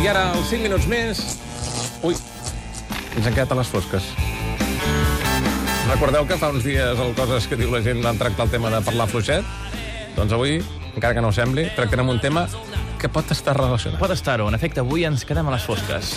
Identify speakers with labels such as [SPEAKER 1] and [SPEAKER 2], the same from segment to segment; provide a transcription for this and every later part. [SPEAKER 1] I ara, els 5 minuts més... Ui, ens han quedat a les fosques. Recordeu que fa uns dies el Coses que diu la gent van tractar el tema de parlar fluixet? Doncs avui, encara que no ho sembli, tractarem un tema que pot estar relacionat.
[SPEAKER 2] Pot estar-ho. En efecte, avui ens quedem a les fosques.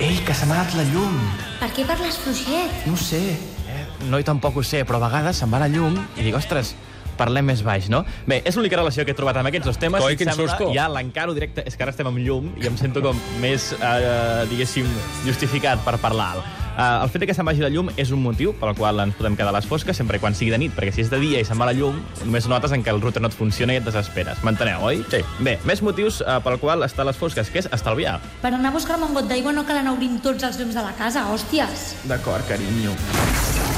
[SPEAKER 2] Ei, que se m'ha anat la llum.
[SPEAKER 3] Per què parles fluixet?
[SPEAKER 2] No ho sé. Eh, no, i tampoc ho sé, però a vegades se'n va la llum i dic, ostres, parlem més baix, no? Bé, és l'única relació que he trobat amb aquests dos temes.
[SPEAKER 1] Coi,
[SPEAKER 2] Si et
[SPEAKER 1] quin
[SPEAKER 2] sembla,
[SPEAKER 1] susto.
[SPEAKER 2] Ja l'encaro directe. És que ara estem amb llum i em sento com més, eh, diguéssim, justificat per parlar. Uh, el fet de que se'n vagi la llum és un motiu pel qual ens podem quedar a les fosques sempre i quan sigui de nit, perquè si és de dia i se'n va la llum, només notes en què el router no et funciona i et desesperes. M'enteneu, oi?
[SPEAKER 1] Sí.
[SPEAKER 2] Bé, més motius uh, pel qual estar a les fosques, que és estalviar.
[SPEAKER 3] Per anar a buscar-me un got d'aigua no cal anar obrint tots els llums de la casa, hòsties.
[SPEAKER 2] D'acord, carinyo.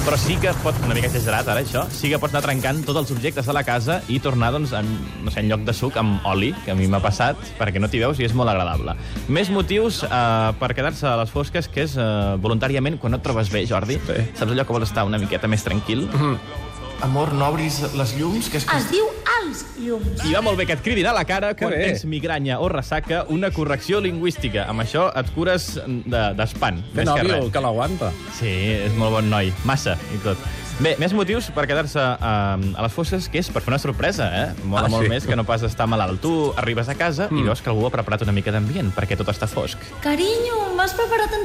[SPEAKER 2] Però sí que pot, una mica exagerat ara, això, sí que pots anar trencant tots els objectes de la casa i tornar, doncs, en, no sé, en lloc de suc, amb oli, que a mi m'ha passat, perquè no t'hi veus i és molt agradable. Més motius eh, per quedar-se a les fosques, que és eh, voluntàriament quan no et trobes bé, Jordi.
[SPEAKER 1] Sí.
[SPEAKER 2] Saps allò que vols estar una miqueta més tranquil?
[SPEAKER 4] Amor, no obris les llums, que és...
[SPEAKER 3] Es diu els llums.
[SPEAKER 2] I va molt bé que et cridin a la cara quan
[SPEAKER 1] bé.
[SPEAKER 2] tens migranya o ressaca una correcció lingüística. Amb això et cures de- d'espant.
[SPEAKER 1] Té
[SPEAKER 2] De, més que
[SPEAKER 1] nòvio
[SPEAKER 2] res.
[SPEAKER 1] que l'aguanta.
[SPEAKER 2] Sí, és molt bon noi. Massa, i tot. Bé, més motius per quedar-se eh, a les fosses, que és per fer una sorpresa, eh? Mola
[SPEAKER 1] Ah,
[SPEAKER 2] ah, molt
[SPEAKER 1] sí.
[SPEAKER 2] més que no pas estar malalt. Tu arribes a casa mm. i veus que algú ha preparat una mica d'ambient, perquè tot està fosc.
[SPEAKER 3] Carinyo, m'has preparat un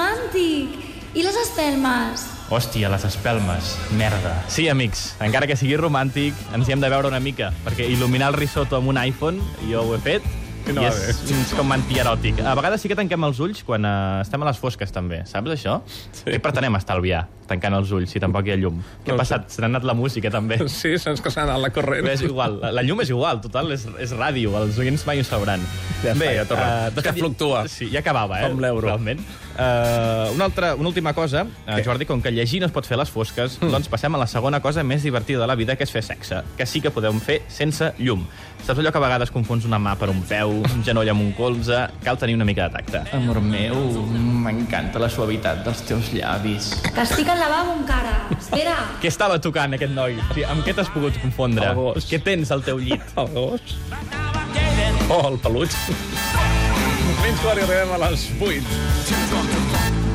[SPEAKER 3] superromàntic. I les espelmes?
[SPEAKER 2] Hòstia, les espelmes. Merda. Sí, amics, encara que sigui romàntic, ens hi hem de veure una mica, perquè il·luminar el risotto amb un iPhone, jo ho he fet,
[SPEAKER 1] No,
[SPEAKER 2] i
[SPEAKER 1] bé.
[SPEAKER 2] és, és com antieròtic. A vegades sí que tanquem els ulls quan eh, estem a les fosques, també. Saps això? Sí. Què pretenem estalviar, tancant els ulls, si tampoc hi ha llum? Què
[SPEAKER 1] No ho
[SPEAKER 2] ha passat? Se n'ha anat la música, també.
[SPEAKER 1] Sí, se'ns que s'ha anat la corrent.
[SPEAKER 2] Però és igual, la, la llum és igual, total, és, és ràdio, els oients mai ho sabran.
[SPEAKER 1] Ja està, ja torna.
[SPEAKER 2] eh,
[SPEAKER 1] És
[SPEAKER 2] de
[SPEAKER 1] que
[SPEAKER 2] fet,
[SPEAKER 1] fluctua.
[SPEAKER 2] Sí, ja acabava, eh?
[SPEAKER 1] Com l'euro.
[SPEAKER 2] Realment. Uh, una, altra, una última cosa, uh, Jordi, com que llegir no es pot fer a les fosques,
[SPEAKER 1] Hmm.
[SPEAKER 2] mm. doncs passem a la segona cosa més divertida de la vida, que és fer sexe, que sí que podem fer sense llum. Saps allò que a vegades confons una mà per un peu, un genoll amb un colze... Cal tenir una mica de tacte. Amor meu, m'encanta la suavitat dels teus llavis.
[SPEAKER 3] Que estic al lavabo encara. Espera.
[SPEAKER 2] Què estava tocant aquest noi? O sigui, amb què t'has pogut confondre?
[SPEAKER 1] El gos.
[SPEAKER 2] Què tens al teu llit?
[SPEAKER 1] El gos. Oh, el peluig. Fins quan arribem a les 8.